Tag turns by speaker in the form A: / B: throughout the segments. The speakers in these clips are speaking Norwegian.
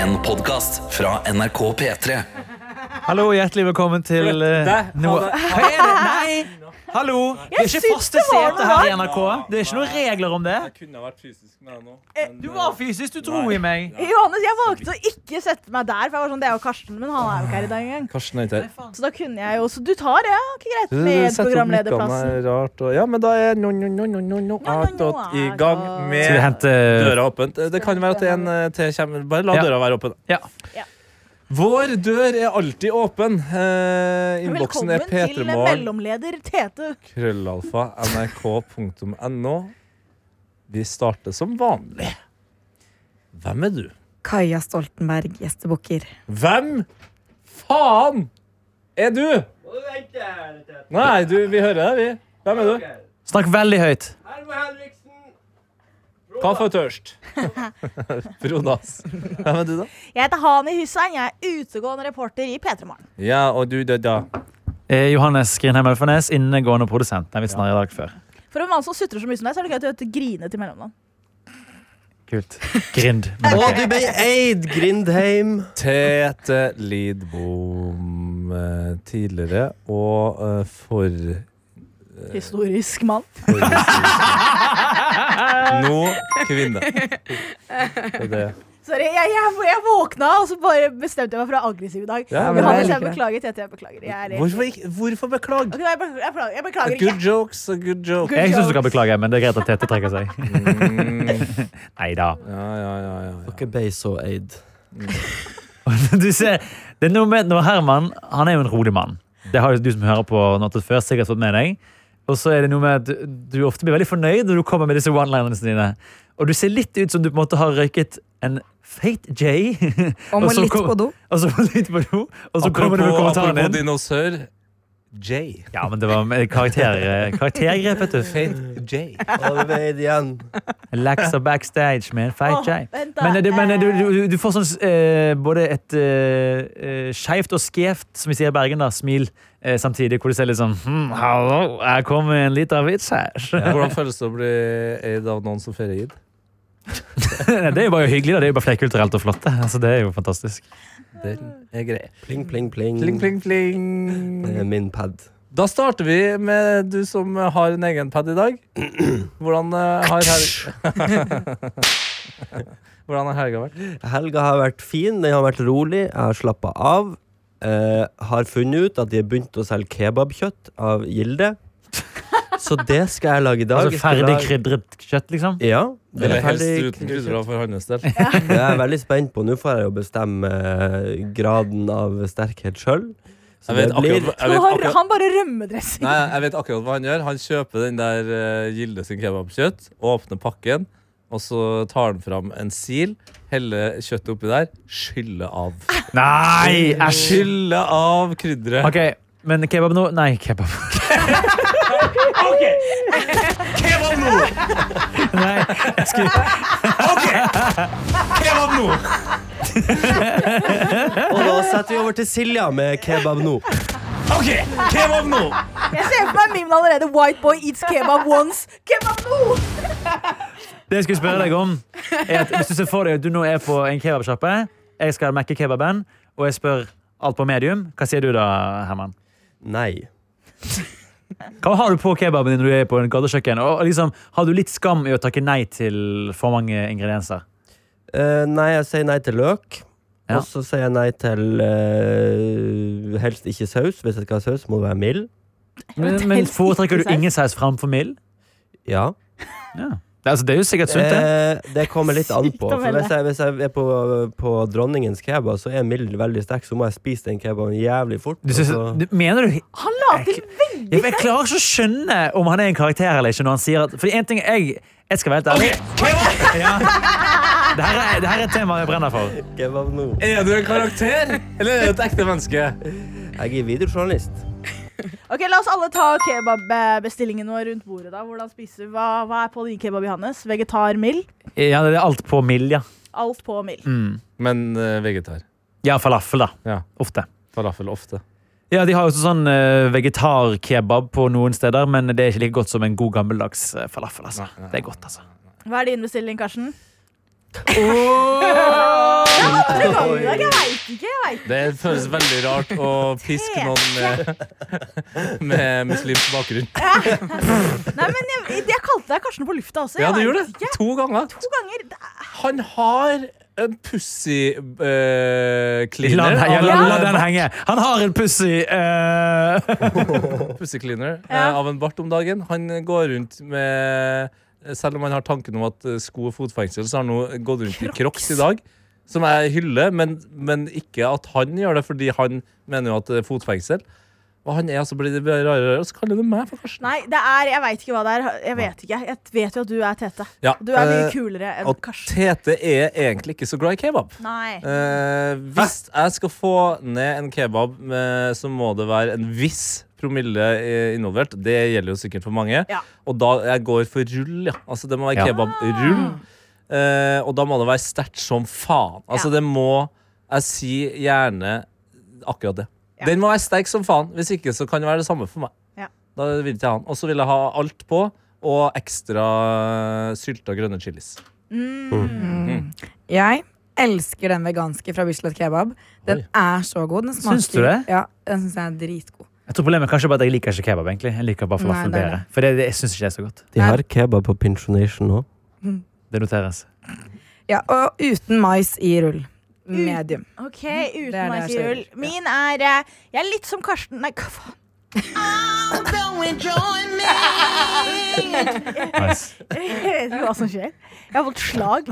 A: En podcast fra NRK P3
B: Hallo, hjertelig velkommen til eh,
C: Flytte.
B: noe Hva er det? Nei! Hallo! Det er
D: Jeg
B: ikke
D: synes
B: faste
D: det var
B: sete
D: noe
B: her i
D: rart.
B: NRK. Det er ikke noen regler om det.
C: Jeg kunne ha vært fysisk med deg nå. men,
B: Du
C: eh,
B: var fysisk, du dro
C: nei.
B: i meg.
C: Nei.
D: Johannes, jeg valgte å ikke sette meg der, for jeg var sånn, det er jo Karsten, men han er jo ikke her i
C: Ah.
D: dag engang.
C: Karsten er ikke her.
D: Så da kunne jeg jo Så du tar det, ja? Ikke greit.
C: Du
D: Med
C: setter opp
D: programlederplassen.
C: mikkene rart. Og, ja, men da er no, no, no, no, no, no,
D: no,
C: alt
D: no,
C: godt i gang
B: Skal vi
C: med
B: hente
C: døra åpent. Det kan være at en eh, til kommer. Bare la
B: Ja.
C: døra være åpen.
B: Ja.
D: Ja.
C: Vår dør er alltid åpen. Eh, Innboksen er
D: Velkommen til
C: p3morgen.
D: mellomleder Tete.
C: Krøllalfa nrk.no. Vi starter som vanlig. Hvem er du?
E: Kaja Stoltenberg, gjestebukker.
C: Hvem faen er du? Nei, du, vi hører deg, vi. Hvem er du?
B: Snakk veldig høyt.
F: Herman Henriksen.
C: Kaffe og tørst. Frodas. Hvem er du, da?
D: Jeg heter Hani Hussein. Jeg er utegående reporter i P3 Morgen.
C: Ja, og du, da, da.
B: Eh, Johannes Grinheim Elfenes, innegående produsent. Den vi snarere i dag før.
D: For en mann som sutrer så mye som deg, så er det greit å hete Grine til mellomnavn.
B: Kult. Grind. Men
F: Og
B: ok.
F: du ble eid, Grindheim.
C: Tete Lidbom, eh, tidligere og eh, for Eh.
D: Historisk mann.
C: Nå kvinne. Det er det.
D: Sorry, jeg, jeg, jeg våkna, og så bare bestemte jeg meg for å være aggressiv i dag.
C: Ja, men
E: det er
D: Johannes, jeg
E: like det.
D: beklager. Tete, jeg beklager. Jeg er
C: Hvorfor, ikke- hvorfor
D: Ok,
C: beklage?
D: nei, jeg beklager, jeg beklager, jeg beklager ikke.
C: Good jokes are good jokes.
B: Jeg syns du skal beklage, men det er greit at Tete trekker seg. Nei da.
C: Mm, Ja, ja, ja, ja, ja.
F: Dere ble så eid.
B: Du ser, det er noe med når Herman han er jo en rolig mann. Det har jo du som hører på Natt før, sikkert fått med deg. Og så er det noe med at du, du ofte blir veldig fornøyd når du kommer med disse one-linersene dine. Og du ser litt ut som du på en måte har røyket en fate J.
E: Og må
B: så
E: litt
B: kom-
E: på do.
B: Og så må du litt på do, og så kommer du med
C: Apropos,
B: kommentaren
C: apropos
B: din.
C: dinosaur. J.
B: Ja, men det var med karakter, karaktergrep, vet du.
C: Fate J.
F: Og du ble eid igjen.
B: Laxa backstage med en feit
D: Åh,
B: J.
D: vent da.
B: Men, det, men du,
D: Eh.
B: du, du får sånn eh, både et eh, eh, skeivt og skjevt, som vi sier i Bergen, da, smil, eh, samtidig hvor du ser litt sånn hm, Hallo, jeg kom med en liten vits her.
C: Hvordan føles det å bli eid av noen som feirer id?
B: det er jo bare hyggelig, da. Det er jo bare flerkulturelt og flott. det. Altså, det er jo fantastisk.
C: Den er grei.
F: Pling, pling, pling.
C: Pling, pling,
F: Det
C: pling.
F: er min pad.
C: Da starter vi med du som har en egen pad i dag. Hvordan eh, har helga Hvordan har helga vært?
F: Helga har vært fin, den har vært rolig, jeg har slappa av. Eh, har funnet ut at de har begynt å selge kebabkjøtt av Gilde. Så det skal jeg lage i dag.
B: Altså,
F: Jeg skal
B: ferdig
F: lage-
B: krydret kjøtt, liksom.
F: Ja. det er
C: Eller
F: ferdig
C: helst uten
F: krydret.
C: krydder for hans del.
F: Det er jeg veldig spent på. Nå får jeg jo bestemme eh, graden av sterkhet sjøl. Så
C: Jeg vet
F: det blir
C: akkurat, jeg
D: Nå
C: vet
D: har
C: akkurat,
D: han bare rømmedressing.
C: nei, jeg vet akkurat hva han gjør. Han kjøper den der eh, Gilde sin kebabkjøtt, åpner pakken, og så tar han fram en sil, heller kjøttet oppi der, skyller av.
B: Nei, æsj!
C: Skyller av krydderet.
B: OK, men kebab nå? Nei, kebab.
C: Kebab nå!
B: Nei, jeg skulle
C: Kebab nå!
F: Og da setter vi over til Silja med kebab nå.
C: OK, kebab nå!
D: Jeg ser for meg memen allerede. White boy eats kebab once. Kebab nå!
B: Det jeg skulle spørre deg om, er at hvis du ser for deg at du nå er på en kebabsjappe, jeg skal mekke kebaben, og jeg spør alt på medium, hva sier du da, Herman?
F: Nei.
B: Hva har du på kebaben din når du er på en gatekjøkken? Og liksom, har du litt skam i å takke nei til for mange ingredienser?
F: Eh, nei, jeg sier nei til løk.
B: Ja.
F: Og så sier jeg nei til eh, helst ikke saus. Hvis jeg skal ha saus, må det være mild.
B: Men,
D: det er
B: men
D: helt
B: foretrekker du
D: riktig
B: ingen saus framfor mild?
F: Ja.
B: Ja. Det, altså, det er jo sikkert sunt, det.
F: Eh, det kommer litt an
D: Sykt
F: på.
D: å
F: For
D: melde.
F: hvis, jeg, hvis jeg er på, på dronningens kebab, så er mild veldig sterk, så må jeg spise den kebaben jævlig fort.
B: Du, synes,
F: og så-
B: du, mener du
D: Han la til
B: jeg, jeg klarer ikke å skjønne om han er en karakter eller ikke. når han sier at... Fordi en ting jeg, jeg skal være helt ærlig ja. det, her er, det her er et tema jeg brenner for.
F: Kebab nå.
C: Er du en karakter, eller er du et ekte menneske?
F: Jeg er videojournalist.
D: Ok, La oss alle ta kebabbestillingen vår rundt bordet. da Hvordan spiser Hva, hva er på din kebab, Johannes? Vegetar mild?
B: Ja, det er alt på mild, ja.
D: Alt på mild.
C: Mm. Men eh, vegetar.
B: Ja, falafel, da.
C: Ja.
B: Ofte.
C: Falafel ofte.
B: Ja, De har jo også sånn eh, vegetarkebab på noen steder, men det er ikke like godt som en god gammeldags eh, falafel. altså.
C: Nei, nei,
B: Det er godt, altså.
D: Hva er din bestilling, Karsten?
F: Oh!
D: første gang i dag. Jeg veit ikke. jeg vet.
C: Det føles veldig rart å piske noen med, med muslimsk bakgrunn.
D: ikke. Nei, men jeg, jeg kalte deg Karsten på lufta også. Jeg
C: Ja, du
D: vet
C: gjorde det
D: Ikke.
C: to ganger.
D: To ganger. Det er-
C: Han har en pussy uh,
B: La
C: cleaner.
B: den,
C: av
B: henge, la,
C: en,
B: la
C: eh,
B: den henge. Han har en pussy eh,
C: pussy cleaner eh,
D: Ja.
C: av en bart om dagen. Han går rundt med Selv om han har tanken om at eh, sko er fotfengsel, så har han nå gått rundt i crocs i dag. Som jeg hyller, men, men ikke at han gjør det, fordi han mener jo at det er fotfengsel. Og han er altså blitt rarere, og rarere, og så kaller han meg for Karsten.
D: Nei, det er Jeg veit ikke hva det er. Jeg vet ikke. Jeg vet jo at du er Tete.
C: Ja,
D: Du er mye
C: eh,
D: kulere enn
C: Og
D: Karsten.
C: Tete er egentlig ikke så glad i kebab.
D: Nei.
C: Eh, hvis jeg skal få ned en kebab, med, så må det være en viss promille eh, involvert. Det gjelder jo sikkert for mange.
D: Ja.
C: Og da jeg går for rull, ja. Altså, det må være
B: Ja.
C: kebabrull. Eh, og da må det være sterkt som faen. Altså,
D: Ja.
C: det må Jeg sier gjerne akkurat det.
D: Ja.
C: Den må være sterk som faen. Hvis ikke så kan det være det samme for meg.
D: Ja.
C: Da vil ikke jeg ha den. Og så vil jeg ha alt på, og ekstra eh, sylta grønne chilis.
E: Jeg elsker den veganske fra Bislett Kebab. Den
C: Oi.
E: er så god. Den smaker,
B: Syns du det?
E: Ja, den syns jeg er dritgod.
B: Jeg tror problemet er kanskje bare at jeg liker ikke kebab. egentlig Jeg liker bare falafel
E: Nei, det er
B: bedre. For det, det, jeg syns ikke det er så godt.
F: De har kebab på Pinchonation nå.
B: Det noteres.
E: Ja, og uten mais i rull.
D: Mm.
E: Medium.
D: OK,
E: det er
D: uten meg
E: det jeg
D: sier ull.
E: ser.
D: Min er eh, Jeg er litt som Karsten Nei, hva faen?
B: Nice.
D: Jeg vet ikke hva som skjer. Jeg har fått slag.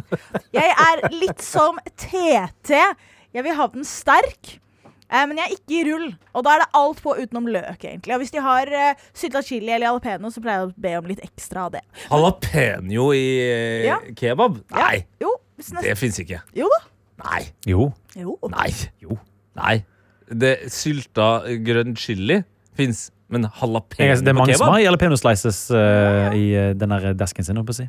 D: Jeg er litt som TT. Jeg vil ha den sterk, eh, men jeg er ikke i rull. Og da er det alt på utenom løk, egentlig. Og hvis de har eh, sylta chili eller jalapeño, så pleier jeg å be om litt ekstra av det.
C: Jalapeño i eh,
D: Ja.
C: kebab?
D: Ja.
C: Nei,
D: Jo, hvis nesten,
C: det fins ikke.
D: jo da.
C: Nei.
B: Jo.
D: Jo.
C: Nei.
B: Jo.
C: Nei. Det sylta grønn chili fins, men jalapeño
B: Jeg, det er mange
C: på
B: som
C: kebab?
B: har jalapeño slices eh, i eh, den der desken sin. holdt på å si.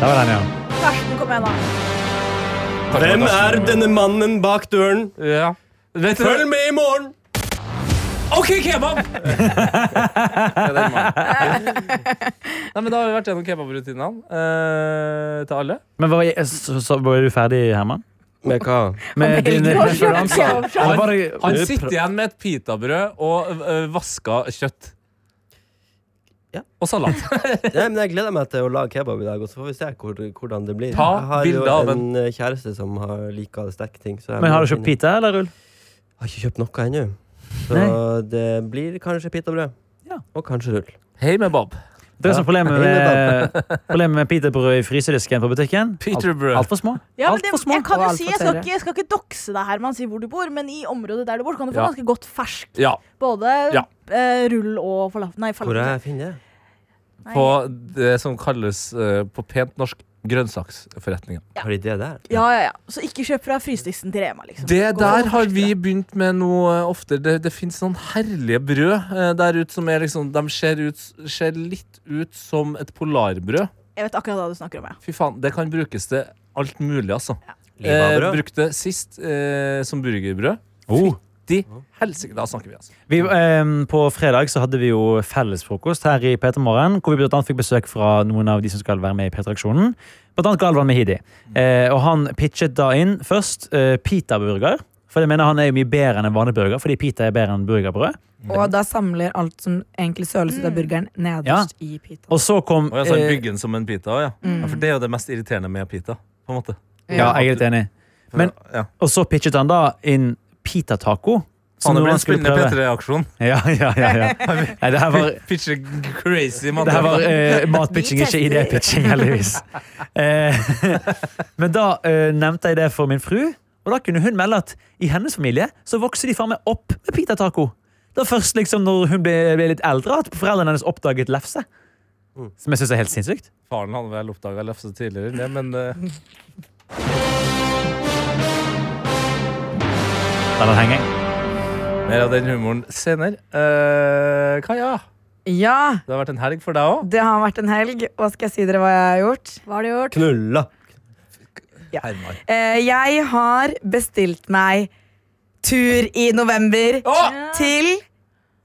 B: Der var den, ja.
D: Karsten, kom igjen, da.
F: Hvem er denne mannen bak døren?
C: ja. Vet du
F: Følg med i morgen!
C: OK, kebab! Det er den mannen. Nei, men Da har vi vært gjennom kebabrutinene eh, til alle.
B: Men var, jeg- så, så var du ferdig, Herman?
F: Med hva?
B: Med din
E: Helge var
B: referanse? Eller var det-
C: Han sitter igjen med et pitabrød og eh, vaska kjøtt.
F: Ja.
C: Og salat.
F: Nei, men jeg gleder meg til å lage kebab i dag, og så får vi se hvor, hvordan det blir.
C: Ta
F: jeg har
C: bilde av
F: jo en eh, kjæreste som har liker sterke ting. Så jeg
B: Men
F: må
B: har du kjøpt
F: finne-
B: pita eller rull?
F: Jeg har ikke kjøpt noe ennå. Så det blir kanskje pitabrød.
B: Ja.
F: Og kanskje rull.
C: Hei med Bob.
B: Det er som problemet med, problemet med pitabrød i frysedisken på butikken.
C: Pitabrød.
B: Altfor små.
D: Ja, men
B: Alt
D: det,
B: for små.
D: jeg kan
E: og
D: jo
E: alt
D: si,
E: for
D: jeg skal
E: tørre.
D: ikke, jeg skal ikke dokse deg, Herman, si hvor du bor, men i området der du bor, kan du få
C: Ja.
D: ganske godt ferskt.
C: Ja.
D: Både
C: Ja.
D: eh, rull og falafel. Nei,
F: Hvor
D: falafel.
F: jeg finner det?
C: På det som kalles eh, på pent norsk grønnsaksforretninga.
F: Har de det der?
D: Ja, ja, ja. Så ikke kjøp fra frysdisken til Rema, liksom.
C: Det
D: Gå
C: der har
D: først,
C: vi
D: da.
C: begynt med noe oftere. Det, det fins noen herlige brød eh, der ute som er liksom De ser, ut, ser litt ut som et polarbrød.
D: Jeg vet akkurat hva du snakker om, ja.
C: Fy faen, det kan brukes til alt mulig, altså. Eh,
F: Livabrød?
C: brukte sist eh, som burgerbrød.
B: Oh.
C: De helsike, da snakker vi, altså.
B: Vi, ehm, på fredag så hadde vi jo fellesfrokost her i P3 Morgen, hvor vi blant annet fikk besøk fra noen av de som skal være med i P3-aksjonen. Blant annet Galvan Mehidi. Eh, og han pitchet da inn først eh, pitaburger. For jeg mener han er jo mye bedre enn en vanlig burger, fordi pita er bedre enn burgerbrød.
E: Og da samler alt som egentlig søles
D: Mm.
E: ut av burgeren, nederst i pitaen.
B: Og så kom
C: Og jeg sa
B: eh,
C: byggen som en pita, ja.
B: Mm.
C: ja. For det er jo det mest irriterende med pita. På en måte.
B: eh, Ja, jeg er helt enig. Men-
C: ja.
B: Og så pitchet han da inn pitataco.
C: Faen,
B: Som
C: det
B: noe
C: ble
B: han
C: en
B: skulle
C: spennende
B: prøve.
C: P3-aksjon.
B: Ja, ja, ja, ja. Nei, det her var
C: Pitcher crazy, mann.
B: Det her var eh, matpitching,
D: Vi
B: ikke
D: tester.
B: idépitching, heldigvis. Eh, men da eh, nevnte jeg det for min fru, og da kunne hun melde at i hennes familie så vokser de faen meg opp med pitataco. Det var først liksom når hun ble, ble litt eldre, at foreldrene hennes oppdaget lefse. Som jeg syns er helt sinnssykt.
C: Faren hadde vel oppdaga lefse tidligere enn det, men eh,
B: Der den henger.
C: mer av den humoren senere. Eh, Kaja,
E: Ja,
C: det har vært en helg for deg òg.
E: det har vært en helg, og skal jeg si dere hva jeg har gjort?
D: Hva har du gjort?
F: Knulla!
C: Herman.
E: Eh, jeg har bestilt meg tur i november
C: Å!
E: til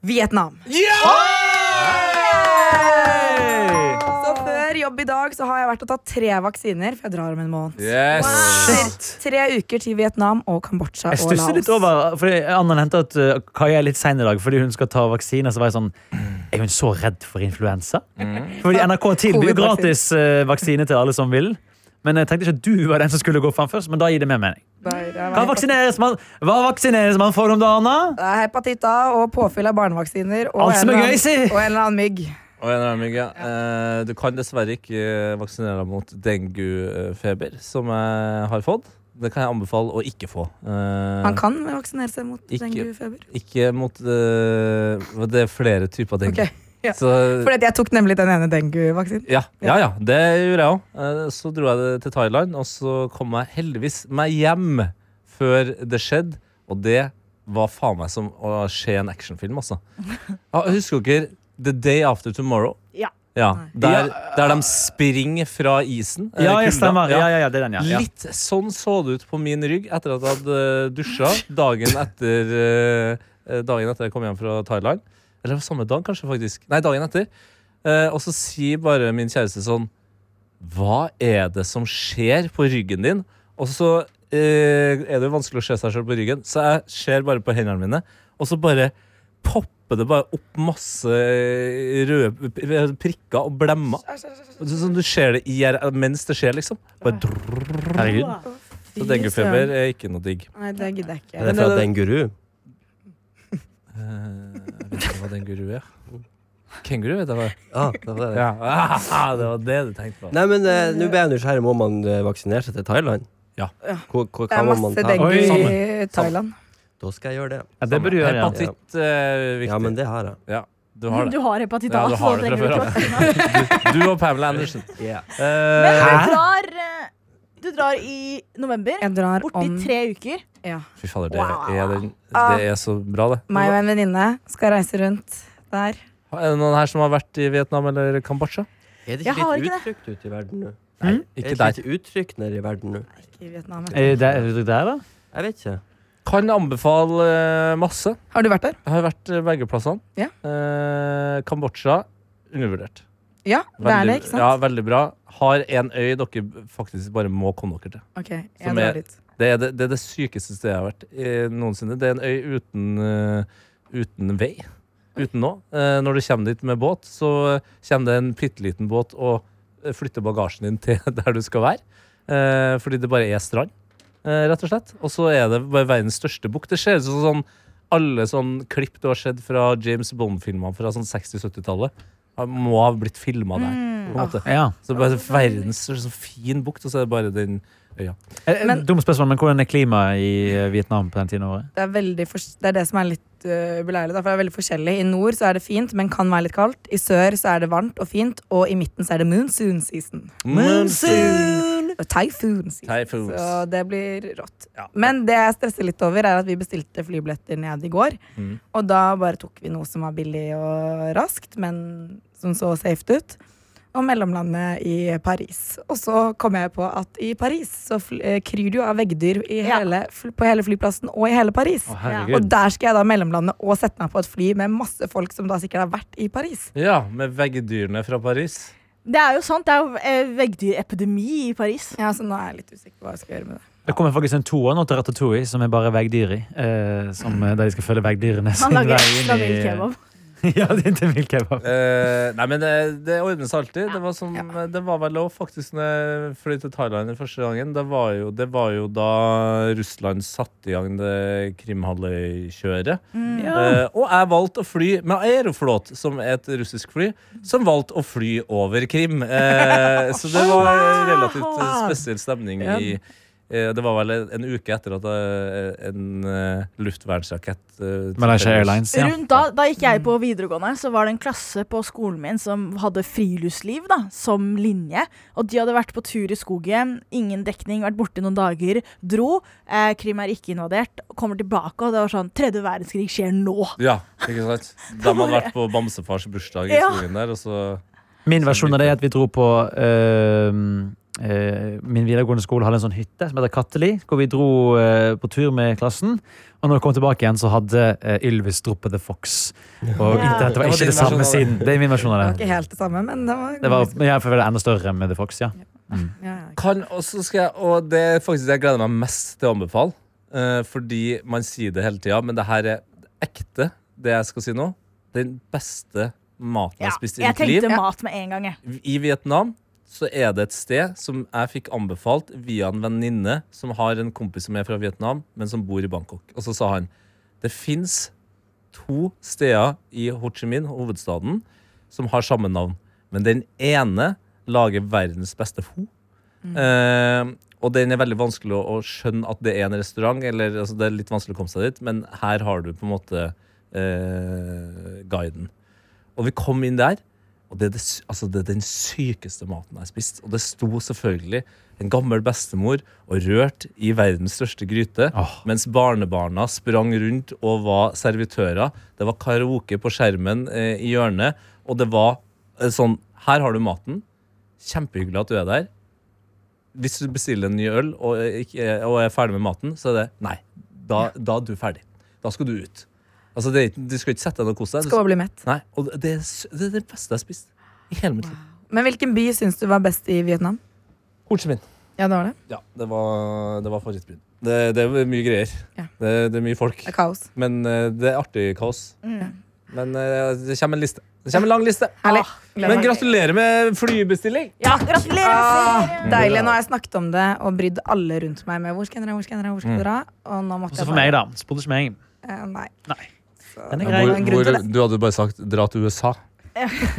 E: Vietnam.
C: Ja!
E: Så før jobb jobb i dag så har jeg vært og tatt tre vaksiner, for jeg drar om en måned.
C: Yes.
B: Shit.
E: Tre uker til Vietnam og Kambodsja
B: Jeg
E: og Laos.
B: stusser litt over fordi Anna nevnte at uh, Kai er litt sein i dag fordi hun skal ta vaksine. Så var jeg sånn Er hun så redd for influensa? Fordi NRK tilbyr jo
E: Covid-vaksine.
B: gratis uh, vaksine til alle som vil. Men jeg tenkte ikke at du var den som skulle gå fram først. Men da gir det mer mening.
E: Nei, det er
B: Hva vaksineres man, hva vaksineres man for om dagen, da?
E: Det er hepatitt A og påfyll av barnevaksiner og,
B: Alt
E: en
B: som er
E: eller
B: gøy,
E: annen-
B: si!
E: og en eller annen mygg.
C: Og en annen mygg, ja. Eh, Du kan dessverre ikke eh, vaksinere deg mot denguefeber, som jeg har fått. Det kan jeg anbefale å ikke få. Eh,
E: Man kan vaksinere seg mot
C: Ikke-
E: denguefeber.
C: Ikke mot eh, Det er flere typer dengue.
E: Ok, ja.
C: Så,
E: Fordi at jeg tok nemlig den ene denguevaksinen.
C: ja, ja, ja, det gjorde jeg òg. Så dro jeg det til Thailand, og så kom jeg heldigvis meg hjem før det skjedde. Og det var faen meg som å se en actionfilm, altså. Ja, husker dere The Day After Tomorrow?
D: Ja.
C: Ja, der,
B: Ja. eh,
C: der de springer fra isen. eh,
B: Ja, jeg
C: kulda.
B: stemmer. Ja, ja, ja, det er den, ja. ja.
C: Litt sånn så det ut på min rygg etter at jeg hadde dusja dagen etter eh, Dagen etter jeg kom hjem fra Thailand. Eller samme dag, kanskje. faktisk Nei, dagen etter. Eh, og så sier bare min kjæreste sånn Hva er det som skjer på ryggen din? Og så eh, er det jo vanskelig å se seg sjøl på ryggen, så jeg ser bare på hendene mine, og så bare popper det bare opp masse røde prikker og blemmer. Sånn du ser det i, mens det skjer, liksom. Bare
B: Herregud.
C: så denguefeber er ikke noe digg.
E: Nei, det gidder jeg ikke.
F: Er det fra Denguru?
C: Jeg vet ikke hva denguru er. Kenguru vet jeg hva er.
F: Ah, det var det.
C: Ja. Ah, det var det du tenkte på.
F: Nei, men eh, nå ble jeg nysgjerrig. Må man eh, vaksinere seg til Thailand?
C: Ja.
F: Hvor, hvor
E: Det er
F: kan man
E: masse
F: ta?
E: dengue
B: Oi.
E: i Thailand.
F: Da skal jeg gjøre det.
B: ja det burde du gjøre. Ja.
C: Hepatitt er viktig.
F: Ja, men det har jeg.
C: Ja, du har
D: Du
C: det.
D: har hepatitt A.
C: Ja, du
D: så
C: har det fra
D: trenger
C: før
D: ikke
C: av.
D: vaksine.
C: Du og Pamela Andersen.
D: Men
C: Eh,
D: du drar, eh, du drar i november.
E: Jeg drar
D: Borte
E: om
D: i tre uker.
E: ja.
C: Fy fader, det er, den, det er så bra, det.
E: Meg og en venninne skal reise rundt der.
C: Er det noen her som har vært i Vietnam eller Kambodsja?
F: Er det
D: Jeg har
F: ikke litt
D: ikke
F: utrygt ute i verden nå? Er
C: Ikke
F: det
C: der.
F: ikke litt utrygt nede i verden nå?
E: Ikke i Vietnam.
B: Er Eh, det er det der, da?
F: Jeg vet ikke.
C: Kan anbefale eh, masse.
E: Har du vært der?
C: Jeg har vært eh, begge plassene.
E: Ja.
C: Eh, Kambodsja undervurdert.
E: Ja, det er det, ikke sant?
C: ja, veldig bra. Har en øy dere faktisk bare må komme dere til.
E: Ok, jeg
C: Som er-
E: drar dit.
C: Det er det, det, er det sykeste stedet jeg har vært eh, noensinne. Det er en øy uten, eh, uten vei. Uten nå. Eh, når du kommer dit med båt, så eh, kommer det en bitte liten båt og eh, flytter bagasjen din til der du skal være. Eh, fordi det bare er strand, eh, rett og slett. Og så er det bare verdens største bukt. Det ser ut som sånn, alle sånn klipp du har sett fra James Bond-filmer fra sånn 60-70-tallet. Må ha blitt filma der.
E: Mm.
C: på en måte.
B: Ja.
C: Så bare verdens så fin bukt, og så er det bare den øya.
B: Eh, eh, Dumt spørsmål, men hvordan er klimaet i eh, Vietnam på den tiden av året?
E: det er, veldig fors- det er det som er litt uh, beleilig. da, for Det er veldig forskjellig. I nord så er det fint, men kan være litt kaldt. I sør så er det varmt og fint, og i midten så er det monsoon season. Og typhoon season.
C: Typhoons.
E: Så det blir rått.
C: Ja.
E: Men det jeg stresser litt over, er at vi bestilte flybilletter ned i går.
C: Mm.
E: Og da bare tok vi noe som var billig og raskt, men som så safe ut. Og mellomlandet i Paris. Og så kom jeg på at i Paris så fl eh, kryr det jo av veggdyr i
D: Ja.
E: hele, fl på hele flyplassen og i hele Paris.
B: Å,
E: Og
B: herregud.
E: der skal jeg da mellomlande og sette meg på et fly med masse folk som da sikkert har vært i Paris.
C: Ja, med veggdyrene fra Paris.
D: Det er jo sant, det er jo eh, veggdyrepidemi i Paris.
E: Ja, Så nå er jeg litt usikker på hva jeg skal gjøre med det.
B: Det kommer faktisk en toer nå til Ratatouille, som er bare veggdyr i. eh, Som, eh, der de skal følge veggdyrene sin
D: Han
B: vei
D: lager
B: inn
D: ekstra
B: i
D: vill kebab.
B: Ja, det er til vill kebab.
C: Eh, nei, men det, det ordnes alltid. Det var, som, det var vel lov, faktisk, når jeg fløy til Thailand den første gangen. Det var jo, det var jo da Russland satte i gang det Krimhalvøy-kjøret.
D: Mm.
C: Eh, og jeg valgte å fly med Aeroflot, som er et russisk fly, som valgte å fly over Krim. Eh, så det var relativt eh, spesiell stemning i eh, Det var vel en uke etter at eh, en eh, luftvernsrakett eh,
B: Malaysia Airlines, ja.
D: Rundt da, da gikk jeg på videregående, så var det en klasse på skolen min som hadde friluftsliv da, som linje. Og de hadde vært på tur i skogen, ingen dekning, vært borte noen dager, dro. Eh, Krim er ikke invadert, kommer tilbake, og det var sånn Tredje verdenskrig skjer nå!
C: Ja, ikke sant? De hadde vært på bamsefars bursdag i
D: Ja.
C: skogen der, og så
B: Min versjon av det er at vi dro på eh, eh, min videregående skole hadde en sånn hytte som heter Katteli, hvor vi dro eh, på tur med klassen. Og når vi kom tilbake igjen, så hadde eh, Ylvis droppet The Fox. Og
D: Ja.
B: internettet var
C: Det var
B: ikke
C: din
B: det samme
C: versjon av
B: siden. Det er min versjon av
E: Det var
B: det.
E: ikke helt det samme, men det var,
B: Det var men jeg føler det er enda større med The Fox, ja.
E: ja,
C: Kan, og, så skal jeg, og det er faktisk det jeg gleder meg mest til å anbefale. eh, fordi man sier det hele tida, men det her er ekte, det jeg skal si nå. Den beste maten jeg
D: Ja,
C: har spist i
D: jeg
C: mitt liv.
D: tenkte mat med en gang, jeg.
C: I Vietnam så er det et sted som jeg fikk anbefalt via en venninne som har en kompis som er fra Vietnam, men som bor i Bangkok. Og så sa han det fins to steder i Ho Chi Minh, hovedstaden, som har samme navn. Men den ene lager verdens beste ho. Eh, og den er veldig vanskelig å, å skjønne at det er en restaurant. Eller, altså, det er litt vanskelig å komme seg dit, men her har du på en måte eh, guiden. Og vi kom inn der, og det er, det, sy- altså det er den sykeste maten jeg har spist. Og det sto selvfølgelig en gammel bestemor og rørt i verdens største gryte,
B: Åh.
C: mens barnebarna sprang rundt og var servitører. Det var karaoke på skjermen eh, i hjørnet, og det var eh, sånn Her har du maten. Kjempehyggelig at du er der. Hvis du bestiller en ny øl og, er ikke, og er ferdig med maten, så er det Nei, da, da er du ferdig. Da skal du ut. Altså, det, er ikke- du skal ikke sette deg ned og kose deg. Du
E: Skal bare bli mett.
C: Nei, og det, er s- det er det beste jeg har spist i hele mitt liv.
E: Men hvilken by syns du var best i Vietnam?
C: Ho Chi Minh.
E: Ja, det var det.
C: Ja, det var, det var favorittbyen. Det, det er mye greier.
E: Ja.
C: Det, det er mye folk.
E: Det er kaos.
C: Men eh, det er artig kaos. Men eh, det kommer en liste. Det kommer en lang liste.
E: Mm. Herlig.
D: Ah,
E: Gleder
C: Men
E: meg.
C: gratulerer med flybestilling!
D: Ja, gratulerer!
E: Ah,
B: Mm.
D: Siri!
E: deilig. Nå har jeg snakket om det og brydd alle rundt meg med hvor skal jeg dra, hvor skal jeg dra, hvor skal jeg dra. Og nå måtte
B: Mm. Også
E: jeg
B: for meg, da. Spurte ikke meg.
E: Eh, nei.
B: Nei.
E: Så,
B: Den er
E: det
B: grei.
E: var en grunn til det.
C: du hadde bare sagt 'dra til USA'.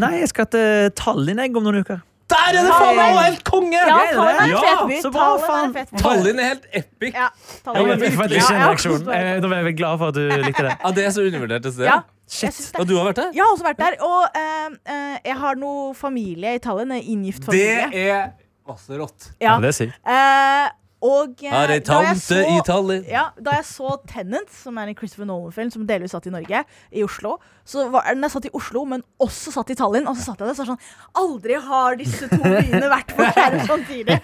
B: Nei, jeg skal til Tallinn jeg, om noen uker.
C: Der er det faen meg også helt konge!
D: Ja, Tallinn er en
B: Ja,
D: fet by.
B: så bra,
D: Tallinn er en
B: faen.
D: fet by.
C: Tallinn er helt epic.
D: Ja,
B: Jeg vet
D: Tallinn er
B: ikke, for at
D: en fet by.
B: det ikke er en
D: Ja,
B: reaksjon.
D: ja,
B: Eh, Da ble jeg glad for at du likte det.
C: Ja, det er så undervurdert et sted.
D: Ja, jeg
B: Shit.
D: synes det
C: Og
D: er-
C: du har vært der?
D: Jeg har også vært der. Og eh, eh, jeg har noe familie i Tallinn. en Inngift familie.
C: Det er masse rått.
B: Ja,
D: Ja.
B: men det er sykt.
D: Eh, og eh,
C: Har ei
D: da jeg
C: tante i
D: så-
C: Tallinn.
D: Ja, da jeg så Tenant, som er en Christopher Nolan-film som delvis satt i Norge, i Oslo, så var den jeg satt i Oslo, men også satt i Tallinn. Og så satt jeg der så var det sånn Aldri har disse to byene vært på skjerm samtidig!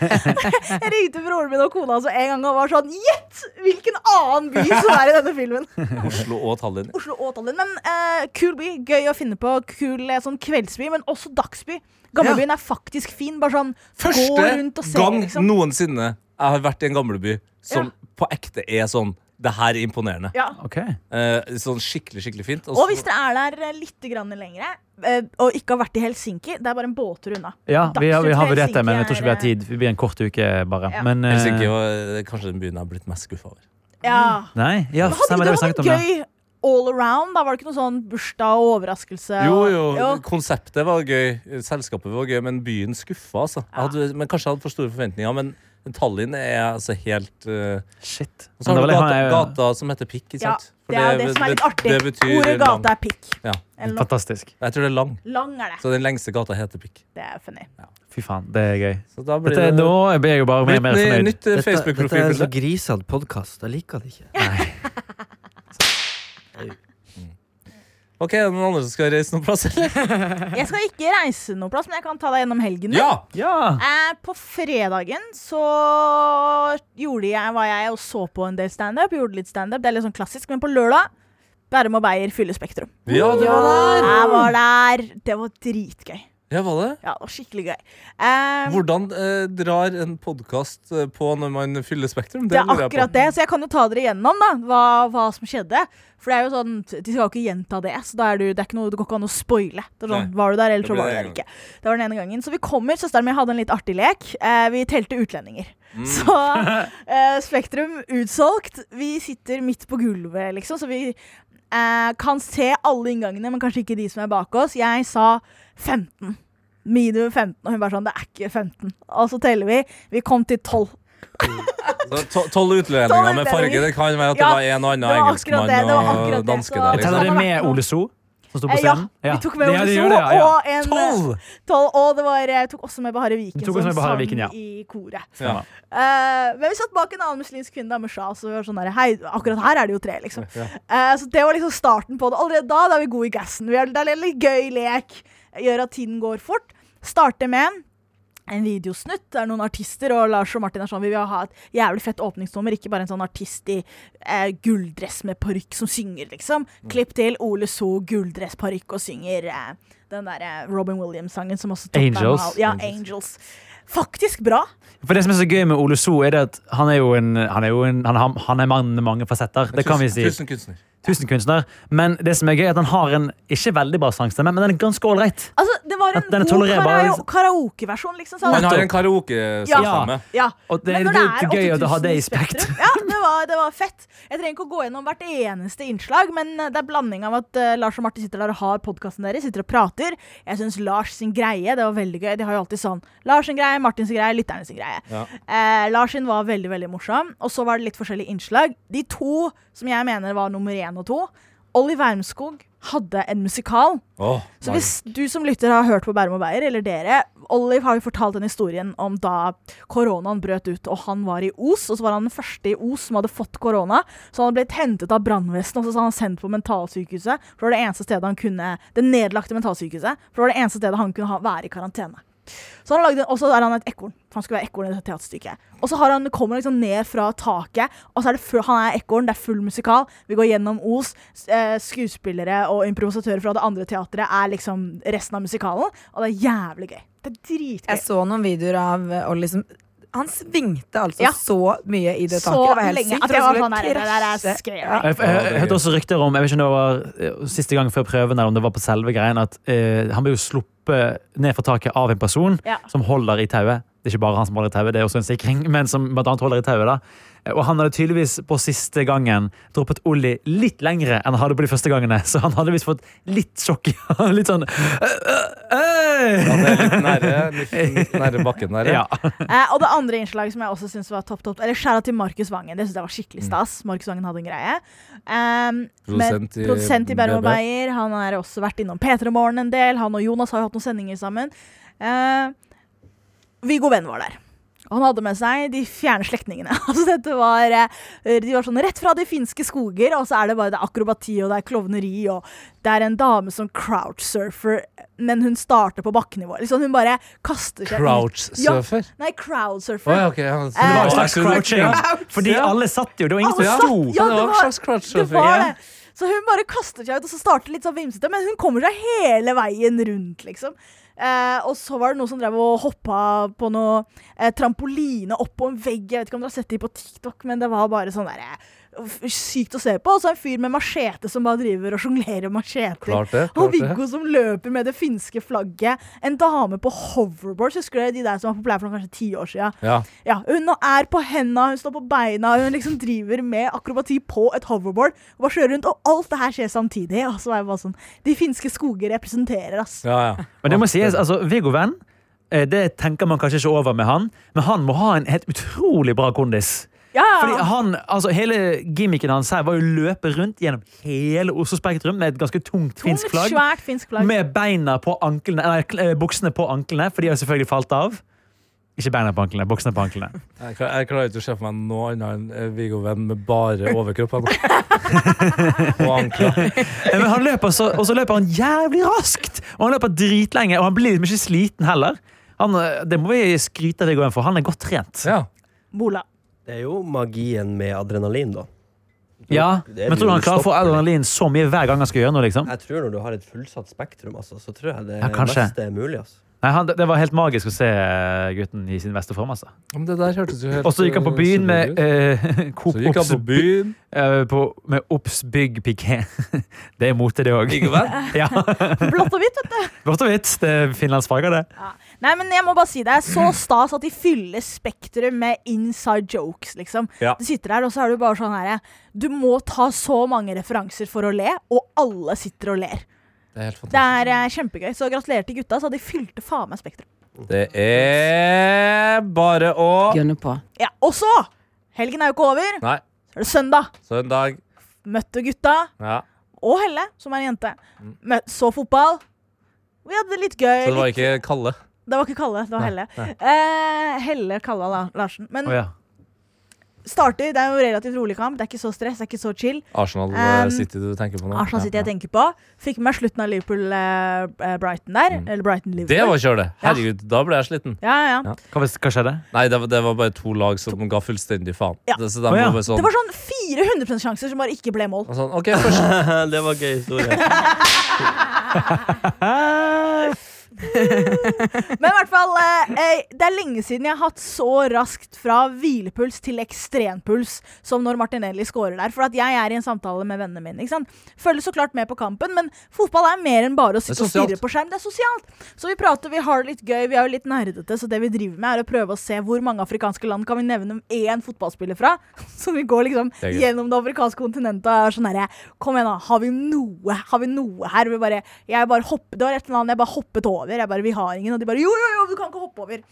D: Jeg ringte broren min og kona hans en gang og var sånn Gjett hvilken annen by som er i denne filmen!
C: Oslo og Tallinn.
D: Oslo og Tallinn. Men eh, kul by. Gøy å finne på. Kul eh, sånn kveldsby, men også dagsby. Gamlebyen er faktisk fin. Bare sånn gå rundt og se,
C: gang
D: liksom.
C: noensinne jeg har vært i en gamleby som
D: Ja.
C: på ekte er sånn Det her er imponerende.
D: Ja.
B: Ok.
C: Eh, sånn skikkelig, skikkelig fint.
D: Og hvis dere er der eh, litt grann lengre eh, og ikke har vært i Helsinki, det er bare en båttur unna.
B: Ja, vi har, vi har
D: Dagsnytt
B: vurdert det, men jeg tror ikke vi har
D: Helsinki er-
B: tid. Vi blir en kort uke, bare.
D: Ja.
B: Men, eh,
C: Helsinki var eh, kanskje den byen jeg har blitt mest skuffa over.
D: Ja.
B: Nei, ja,
D: Men hadde
B: stemmer det vi
D: ikke det
B: snakket
D: vært
B: om. Ja.
D: gøy all around? Da var det ikke noe sånn bursdag og overraskelse?
C: Jo,
D: og-
C: jo, konseptet var gøy, selskapet var gøy, men byen skuffa, altså. Jeg hadde, men kanskje jeg hadde for store forventninger, men Tallinn er altså helt eh,
B: Shit.
C: Og
B: Men
C: så har
B: det
C: du
B: var det, han
C: gata,
B: er jo
C: gata som heter Pikk, ikke
D: Ja,
C: sant? For
D: det er jo det som er litt artig.
C: Det betyr
D: Ordet
C: lang.
D: gata er pikk.
C: Ja.
D: Eller noe.
B: fantastisk.
C: Jeg tror det er lang.
D: Lang er det.
C: Så den lengste gata heter Pikk.
D: Det er funny.
B: Fy faen, det er gøy.
C: Så da blir
B: Dette,
C: det
B: nå blir jeg jo bare mer og mer
C: Nytt-
B: fornøyd.
C: Nytt eh,
F: Dette, dette er en så
C: Facebook-profilbilde.
F: grisete podkast. Jeg liker det ikke.
C: Ok, er det noen andre som skal reise noen plass, eller?
D: Jeg skal ikke reise noe plass, men jeg kan ta deg gjennom helgen. min.
C: Ja!
B: Ja!
D: Eh, på fredagen så gjorde jeg, var jeg og så på en del standup. Gjorde litt standup. Det er litt sånn klassisk. Men på lørdag Bærum og Beyer fyller Spektrum.
C: Ja, det var der!
D: Jeg var der. Det var dritgøy.
C: Ja, var det?
D: Ja, det var skikkelig gøy. Eh,
C: Hvordan eh, drar en podkast på når man fyller Spektrum?
D: det er
C: lurer jeg på.
D: akkurat det, så jeg kan jo ta dere igjennom da hva, hva som skjedde. For det er jo sånn, De skal jo ikke gjenta det, så da er du, det, er ikke noe, det går ikke an å spoile. Det er sånn,
C: Nei.
D: var du der, eller
C: Det
D: så
C: ble
D: var du
C: det
D: der
C: en
D: ikke. Det var den ene gangen. Så vi kommer, søsteren min hadde en litt artig lek. Eh, vi telte utlendinger.
C: Mm.
D: Så eh, Spektrum utsolgt. Vi sitter midt på gulvet, liksom, så vi eh, kan se alle inngangene, men kanskje ikke de som er bak oss. Jeg sa 15. Minimum 15, og hun bare sånn Det er ikke 15. Og så teller vi. Vi kom til 12.
C: Så to- Tolv
D: Tolv
C: utlendinger med farge.
D: utlendinger.
C: Det kan være at
D: Ja,
C: det var en og annen
D: det var akkurat det, det var
C: engelskmann
D: akkurat det,
C: og danske
D: så-
C: der.
B: Jeg teller
C: Liksom.
B: det med Ole So, som sto på
D: Eh, ja,
B: scenen.
D: vi tok med
B: Det-
D: Ole
B: de
D: So
B: gjorde det, ja, ja.
D: og en eh,
C: Tolv!
D: Tolv, og det var, jeg tok også med Bahareh Viken,
B: Du tok også med Bahareh
D: sang
B: Viken, ja.
D: i koret.
C: Ja.
D: Eh, men vi satt bak en annen muslimsk kvinne, da, med Shah, så vi var sånn der, hei, akkurat her er det jo tre, liksom. Eh, så det var liksom starten på det. Allerede da, da er vi gode i gassen. Vi er, det er litt gøy lek, gjør at tiden går fort. Starter med en videosnutt der noen artister og Lars og Martin er sånn Vi vil ha et jævlig fett åpningsnummer, ikke bare en sånn artist i eh, gulldress med parykk som synger, liksom.
B: Mm.
D: Klipp til Ole So, gulldress, parykk og synger eh, den derre Robin Williams-sangen som også toppet
B: Angels.
D: med all- Ja, Angels. Faktisk bra.
B: For det som er så gøy med Ole So, er det at han er jo en Han er, jo en, han, han- han er mann med mange fasetter. Det kan vi si.
C: Tusen kunstner.
B: Tusenkunstner. Men det som er gøy, er at han har en ikke veldig bra sangstemme, men den er ganske ålreit.
D: Altså, det var
B: At den er
D: en god
B: tolererbar,
D: karao-
B: liksom.
D: karaokeversjon, liksom. Så
C: Han
D: hadde-
C: har en karaokestemme.
D: ja.
B: Og det,
D: Men
B: det,
D: når
B: er
D: det er
B: gøy å ha
D: 8000
B: det
D: i
B: i Spektrum.
D: Ja, det var, det var fett. Jeg trenger ikke å gå gjennom hvert eneste innslag, men eh, det er blanding av at eh, Lars og Martin sitter der og har podkasten deres, sitter og prater. Jeg syns Lars sin greie, det var veldig gøy. De har jo alltid sånn Lars sin greie, Martin sin greie, lytterne sin greie.
C: Ja.
D: Eh, Lars sin var veldig, veldig morsom. Og så var det litt forskjellige innslag. De to som jeg mener var nummer én og to, Olli Wermskog hadde en musikal.
C: Åh,
D: Så
C: Mario.
D: hvis du som lytter har hørt på Bærum og Beyer, eller dere Olive har jo fortalt den historien om da koronaen brøt ut, og han var i Os, og så var han den første i Os som hadde fått korona. Så han hadde blitt hentet av brannvesenet, og så hadde han sendt på mentalsykehuset. For det var det eneste stedet han kunne Det nedlagte mentalsykehuset. For det var det eneste stedet han kunne ha, være i karantene. Så han lagde, og så er han et ekorn. For han skulle være ekorn i dette teaterstykket. Og så har han, kommer han liksom ned fra taket, og så er det full, han er ekorn, det er full musikal. Vi går gjennom Os. s- eh, Skuespillere og improvisatører fra det andre teatret er liksom resten av musikalen. Og det er jævlig gøy. Det er
E: Jeg
D: dritgøy.
E: så noen videoer av eh, Olli som Han svingte altså
D: Ja.
E: så mye i det taket.
D: Så
E: det var helt
D: lenge
E: sykt.
D: at
E: Jeg
D: jeg var
E: trodde
D: sånn her,
E: skulle
D: det der er
E: krasje.
D: scary.
E: Ja.
B: Jeg, jeg, jeg, jeg hørte også rykter om jeg vet ikke om det var eh, siste gang før prøven eller om det var på selve greien, at eh, han ble jo sluppet ned fra taket av en person
D: Ja.
B: som holder i tauet. Det er ikke bare han som holder i tauet, det er også en sikring, men som blant annet holder i tauet. da. Eh, Og han hadde tydeligvis på siste gangen droppet Olli litt lengre enn han hadde på de første gangene, så han hadde visst fått litt sjokk. litt sånn «Øh, øh,
C: Ja,
B: øh!»
C: det er litt nære, litt, litt nære bakken der.
B: Ja.
D: Eh, og det andre innslaget som jeg også synes var topp, topp, eller skjæra til Markus Vangen. Det synes jeg var skikkelig stas. Markus Vangen hadde en greie. Um,
C: Produsent i
D: produsent i Bærum og
C: BB.
D: Beyer. Han har også vært innom P3 Morgen en del. Han og Jonas har jo hatt noen sendinger sammen. Eh, Viggo Venn var der. Han hadde med seg de fjerne slektningene. altså dette var, eh, De var sånn rett fra de finske skoger, og så er det bare det er akrobati og det er klovneri. og Det er en dame som crowdsurfer, men hun starter på bakkenivå. Liksom, hun bare kaster seg ut.
C: Crouchsurfer.
D: Nei, crowdsurfer.
C: Å ja, ok. Ja, så
D: Eh,
B: Det var
C: en
B: en slags crouching, fordi
C: Ja.
B: alle satt jo. Det var ingen
D: Alle
B: som
D: satt,
B: sto.
D: Ja,
C: det var
D: det
C: en
D: var-
C: slags
D: Det
C: crowdsurfer.
D: var
C: Ja.
D: det. Så hun bare kaster seg ut, og så starter litt sånn vimsete, men hun kommer seg hele veien rundt, liksom. Eh, og så var det noen som drev og hoppa på noe eh, trampoline opp på en vegg. Jeg vet ikke om dere har sett de på TikTok, men det var bare sånn der eh, f- sykt å se på. Og så en fyr med machete som bare driver og sjonglerer macheter.
C: Klart det. Klart
D: Og
C: det.
D: Viggo som løper med det finske flagget. En dame på hoverboard, husker dere de der som var populære for noen kanskje ti år sia?
C: Ja.
D: Ja, hun er på henda, hun står på beina, hun liksom driver med akrobati på et hoverboard. Og bare kjører rundt, og alt det her skjer samtidig. Og så er jeg bare sånn De finske skoger representerer, ass.
C: Ja, ja.
B: Men det må sies, altså, Viggo Venn, eh, det tenker man kanskje ikke over med han, men han må ha en helt utrolig bra kondis.
D: Ja,
B: Fordi
D: ja.
B: han, altså Hele gimmicken hans her var jo å løpe rundt gjennom hele Oslo Spektrum med et ganske tungt finsk
D: Tungt,
B: flagg.
D: Svært finsk flagg.
B: Med beina på anklene, eller kl- eh, buksene på anklene, for de har selvfølgelig falt av. Ikke beina på anklene, buksene på anklene.
C: Jeg, klar, jeg klarer ikke å se for meg noe annet enn eh, Viggo Venn med bare overkropp. Han. og ankler.
B: Eh, Men han løper så, og så løper han jævlig raskt! Og han løper dritlenge, og han blir liksom ikke sliten heller. Han, eh, det må vi skryte av Viggo Venn for. Han er godt trent.
C: Ja.
D: Bola.
F: Det er jo magien med adrenalin, da.
B: Ja,
F: Det er
B: Men tror
F: det
B: du
F: jo
B: han klarer å få
F: stopper det.
B: adrenalin så mye hver gang han skal gjøre noe? liksom?
F: Jeg tror når du har et fullsatt spektrum, altså, så tror jeg det
B: Ja, kanskje.
F: meste er mulig. Altså.
B: Nei, han, Det var helt magisk å se eh, gutten i sin beste form. altså.
C: Men det der hørtes jo helt
B: Og så gikk han på
C: eh,
B: byen med
C: superbra ut.
B: eh, Coop
C: Så gikk han
B: Obs
C: på byen.
B: eh, på- med Obs Bygg Piqué. Det er mote, det òg. Ja,
D: Blått og hvitt, vet du.
B: Blått og hvitt. Det er finlandsfarger, det.
D: Nei, men jeg må bare si det er så stas at de fyller Spektrum med inside jokes, liksom.
C: Ja.
D: Du sitter der, og så er du bare sånn herre Du må ta så mange referanser for å le, og alle sitter og ler.
C: Det er helt
D: Det
C: fantastisk.
D: er eh, kjempegøy. Så gratulerer til gutta, så de fylte faen meg Spektrum.
C: Det er bare å
G: Gønne på.
D: Ja, og så! Helgen er jo ikke over.
C: Nei,
D: Så er det søndag.
C: søndag.
D: Møtte gutta
C: Ja.
D: og Helle, som er en jente. Møt, så fotball. Vi hadde det litt
C: Mm. Så
D: gøy.
C: det var
D: litt,
C: ikke Kalle.
D: det var ikke Kalle, det var
C: Nei,
D: Helle. Eh, Helle Kalla La- Larsen. Men
B: Å, ja.
D: starter. Det er jo relativt rolig kamp. Det er ikke så stress, det er ikke så chill.
C: Arsenal eh,
D: Um,
C: City du tenker på nå?
D: Arsenal City jeg tenker på. Fikk med meg slutten av Liverpool-Brighton der. Eller Brighton-Liverpool.
C: Mm. Det var kjør, det! Herregud, da ble jeg sliten.
D: ja, ja, ja.
C: Ja.
B: Hva, hva skjedde?
C: Nei, det var, det var bare to lag som ga fullstendig faen.
D: Ja.
C: Det, så de
B: Å, ja.
C: var bare sånn,
D: Det var sånn 400 sjanser som bare ikke ble mål.
C: sånn OK, først
F: det var gøy historie.
D: Men i hvert fall, eh, eh, det er lenge siden jeg har hatt så raskt fra hvilepuls til ekstrempuls som når Martinelli scorer der. For at jeg er i en samtale med vennene mine. ikke sant? Følger så klart med på kampen, men fotball er mer enn bare å
C: Det
D: sitte
C: er
D: og stirre
C: sosialt.
D: på skjerm. Det er sosialt. Så vi prater, vi har det litt gøy, vi er jo litt nerdete, så det vi driver med, er å prøve å se hvor mange afrikanske land kan vi nevne om én fotballspiller fra. Så vi går liksom
C: Det er gøy.
D: gjennom det afrikanske kontinentet og er sånn herre Kom igjen, da. Har vi noe? Har vi noe her? Vi bare, jeg bare hoppet, det var et eller annet jeg bare hoppet over. Jeg bare, Vi har ingen. Og de bare Jo, jo, jo, du kan ikke hoppe over.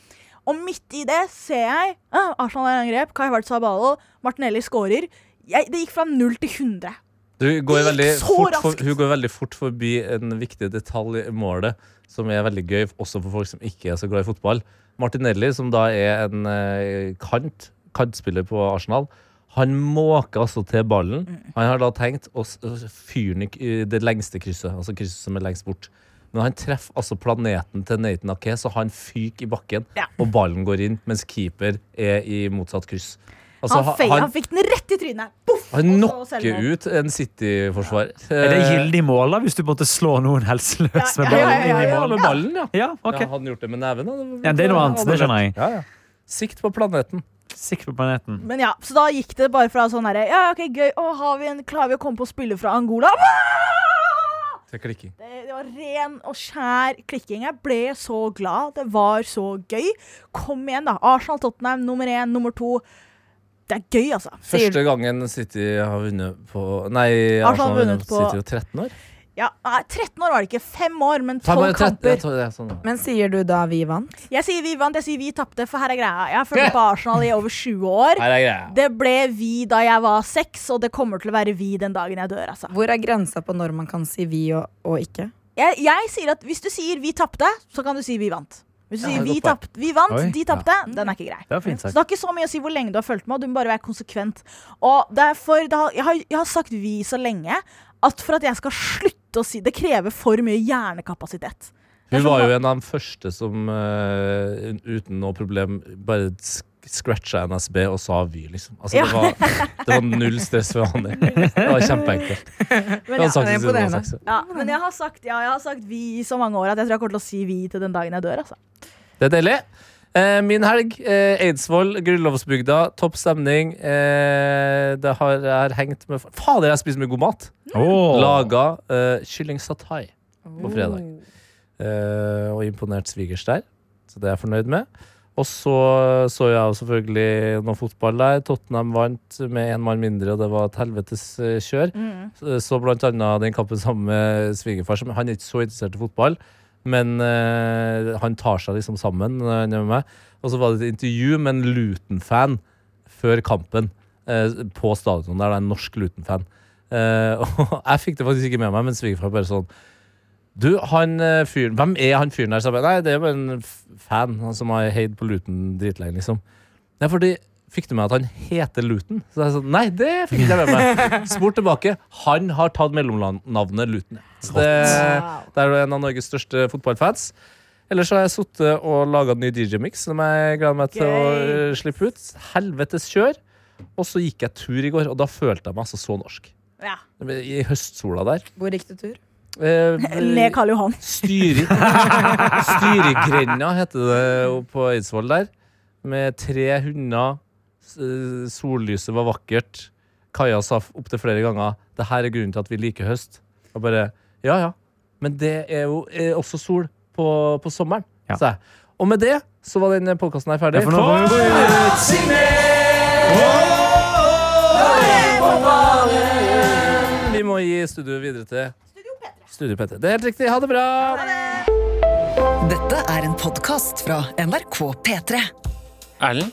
D: Og midt i det ser jeg ah, Arsenal er i angrep. Kai Havertz har ballen. Martinelli skårer. Jeg, det gikk fra null til 100.
C: Du går
D: Det
C: veldig
D: gikk så
C: fort for,
D: raskt.
C: Hun går veldig fort forbi en viktig detalj i målet, som er veldig gøy også for folk som ikke er så glad i fotball. Martinelli, som da er en eh, kant, kantspiller på Arsenal, han måker altså til ballen.
D: Mm.
C: Han har da tenkt å s- å fyre den i k- i det lengste krysset, altså krysset som er lengst bort. Men han treffer altså planeten til Nathan Ake, så han fyker i bakken,
D: Ja.
C: og ballen går inn, mens keeper er i motsatt kryss. Altså,
D: Han,
C: ha-
D: feia,
C: han,
D: han fikk den rett i trynet. Boff!
C: han
D: og så
C: knocker
D: selvmål.
C: ut en City-forsvarer.
B: Er det gyldig mål da, hvis du måtte slå noen helseløs
D: Ja,
B: med
D: ja, ja,
B: ballen
D: ja,
B: inn i mål?
C: med ballen, Eh,
B: Ja,
C: ja.
B: ok.
C: Ja, hadde han gjort det med neven? da,
B: Ja, det er noe annet, det skjønner jeg.
C: Ja, ja. Sikt på planeten.
B: Sikker på planeten.
D: Men ja, så da gikk det bare fra sånn herre Ja, OK, gøy. Å, har vi en, klarer vi å komme på å spille fra Angola? Ah!
C: Til klikking.
D: Det, det var ren og skjær klikking. Jeg ble så glad. Det var så gøy. Kom igjen, da. Arsenal-Tottenham nummer én, nummer to. Det er gøy, altså.
E: Sier-
C: Første gangen City har vunnet på Nei,
D: Arsenal
C: Arsenal
D: har
C: har vunnet
D: vunnet
C: på
D: på-
C: City jo 13 år.
D: Ja, nei, 13 år var det ikke. Fem år, men
C: Fem
D: tolv
C: år, 13, jeg
D: kamper.
C: tror det er sånn.
E: Men sier du da vi vant?
D: Jeg sier vi vant, jeg sier vi tapte, for her er greia. Jeg har fulgt på Arsenal i over 20 år.
C: Her er greia.
D: Det ble vi da jeg var seks, og det kommer til å være vi den dagen jeg dør, altså.
E: Hvor er grensa på når man kan si vi og, og ikke?
D: Jeg, jeg sier at hvis du sier vi tapte, så kan du si vi vant. Hvis du
C: Ja,
D: sier
C: det er
D: vi,
C: godt poeng.
D: tapt, vi vant,
B: Oi.
D: de tapte, den er ikke grei.
B: Det var fint
D: Så
B: sagt.
D: det har ikke så mye å si hvor lenge du har fulgt med, og du må bare være konsekvent. Og derfor, det har, jeg, har, jeg har sagt vi så lenge at for at jeg skal slutte å si det, krever for mye hjernekapasitet. Det er
C: Hun
D: sånn
C: var jo
D: at-
C: en av de første som eh, uten noe problem bare sk- scratcha NSB og sa Vy, liksom. Altså,
D: Ja.
C: det, var, det var null stress for han. Det var kjempeenkelt. Det
D: Men
C: hadde
D: ja,
C: sagt det siden hun var
E: imponerende.
C: seks år.
D: ja, men jeg har sagt, ja, jeg har sagt vi i så mange år at jeg tror jeg kommer til å si vi til den dagen jeg dør. Altså.
C: Det er deilig. Eh, min helg. Eh, Eidsvoll, Grunnlovsbygda. Topp stemning. Eh, det har jeg har hengt med Fader, jeg spiser mye god mat!
B: Åh.
C: Laga eh, kylling satai på fredag. Eh, og imponert svigers der. Så det er jeg fornøyd med. Og så så jeg jo selvfølgelig noe fotball der. Tottenham vant med én mann mindre, og det var et helvetes eh, kjør. Så blant annet den kampen sammen med svigerfar. som- Han er ikke så interessert i fotball, men eh, han tar seg liksom sammen når han er med meg. Og så var det et intervju med en Luton-fan før kampen eh, på stadion. Der det er en norsk Luton-fan. Eh, og jeg fikk det faktisk ikke med meg, men svigerfar bare sånn du, han eh, fyren Hvem er han fyren der? Så jeg bare, Nei, det er bare en f- fan han som har heid på Luton dritlenge, liksom. Nei, fordi Fikk du med at han heter Luton? Så jeg sa nei, det fikk ikke jeg med meg. Spor tilbake. Han har tatt mellomnavnet Luton. Så det,
E: Eh,
C: det er jo en av Norges største fotballfans. Ellers så har jeg sittet og laga ny DJ-mix, som jeg gleder meg til å
D: Gøy.
C: eh, slippe ut. Helvetes kjør. Og så gikk jeg tur i går, og da følte jeg meg altså så norsk.
D: Ja.
C: I høstsola der.
E: Hvor gikk du tur?
C: Eh,
D: Ned Karl Johan.
C: Styri Styrigrenda heter det oppe på Eidsvoll der. Med tre hunder. S- eh, Sollyset var vakkert. Kaja sa opptil flere ganger det her er grunnen til at vi liker høst. Og bare Ja ja, men det er jo eh, også sol på, på sommeren,
B: Ja.
C: sa jeg. Og med det så var den podkasten her ferdig.
B: Ja, for nå må vi gå videre.
C: vi må gi studioet videre til Studio P3. Det er helt riktig. Ha det bra.
G: Dette er en podkast fra NRK P3.
H: Erlend,